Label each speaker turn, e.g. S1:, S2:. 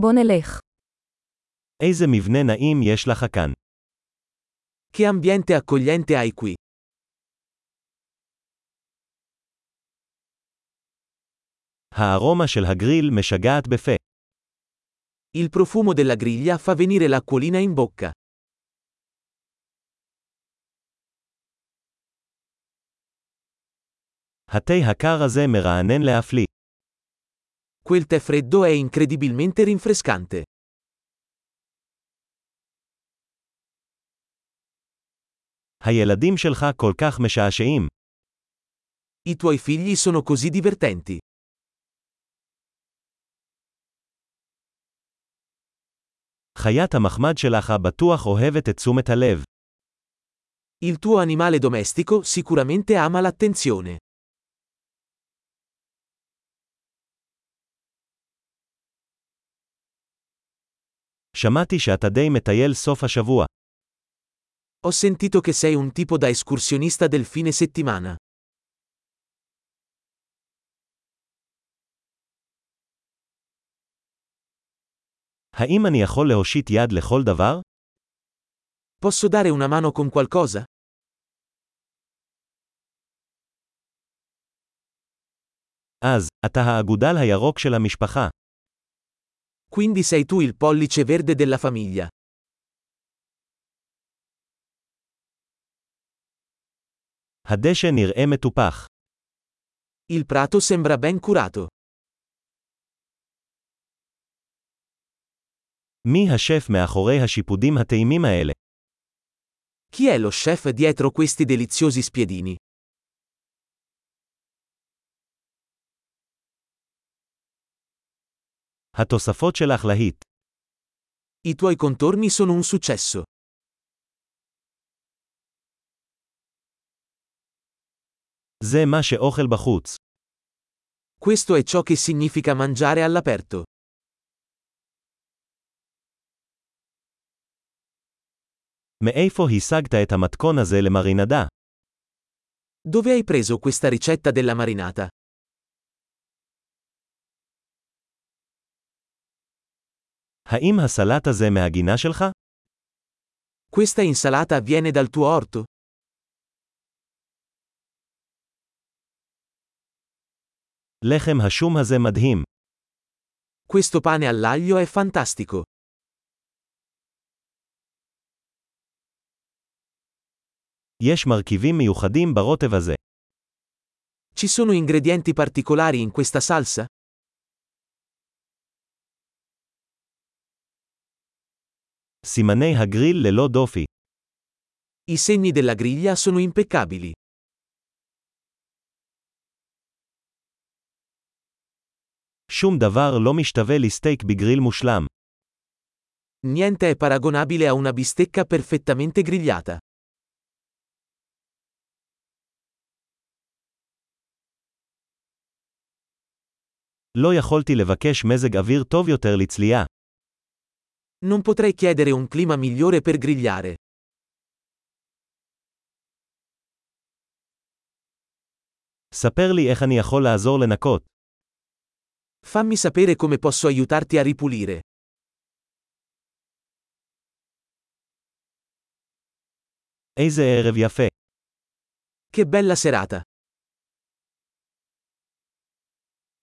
S1: בוא נלך.
S2: איזה מבנה נעים יש לך כאן.
S3: Che ambiente accogliente hai qui?
S2: הארומה של הגריל משגעת בפה.
S3: Il profumo della griglia fa venire l'acquolina in bocca.
S2: התה הקר הזה מרענן להפליא.
S3: Quel tè freddo è incredibilmente rinfrescante.
S2: הילדים שלך כל כך משעשעים.
S3: I tuoi figli sono così divertenti.
S2: חיית המחמד שלך בטוח אוהבת את תשומת הלב.
S3: Il tuo animale domestico sicuramente ama l'attenzione.
S2: שמעתי שאתה די מטייל סוף השבוע.
S3: Ho sentito che sei un tipo da escursionista del fine settimana.
S2: האם אני יכול להושיט יד לכל דבר?
S3: Posso dare una mano con qualcosa?
S2: אז, אתה האגודל הירוק של המשפחה.
S3: Quindi sei tu il pollice verde della famiglia.
S2: הדשא נראה מטופח.
S3: Il prato sembra ben curato.
S2: מי השף מאחורי השיפודים הטעימים האלה?
S3: Chi è lo chef dietro questi deliziosi spiedini?
S2: התוספות שלך להיט.
S3: I tuoi contorni sono un successo.
S2: זה מה שאוכל בחוץ.
S3: Questo è ciò che significa mangiare all'aperto.
S2: מאיפה השגת את המתכון הזה למרינדה?
S3: Dove hai preso questa ricetta della marinata?
S2: האם הסלט הזה מהגינה שלך?
S3: Questa insalata viene dal tuo orto?
S2: לחם השום הזה מדהים.
S3: Questo pane all'aglio è fantastico.
S2: יש מרכיבים מיוחדים ברוטב הזה.
S3: Ci sono ingredienti particolari in questa salsa?
S2: סימני הגריל ללא דופי.
S3: I segni della griglia sono impeccabili.
S2: שום דבר לא משתווה לסטייק בגריל מושלם.
S3: Niente è paragonabile a una bistecca perfettamente grigliata.
S2: לא יכולתי לבקש מזג אוויר טוב יותר לצלייה.
S3: Non potrei chiedere un clima migliore per grigliare.
S2: ספר לי איך אני יכול לעזור לנקות.
S3: Fammi sapere come posso aiutarti a ripulire.
S2: איזה ערב יפה.
S3: Che bella serata!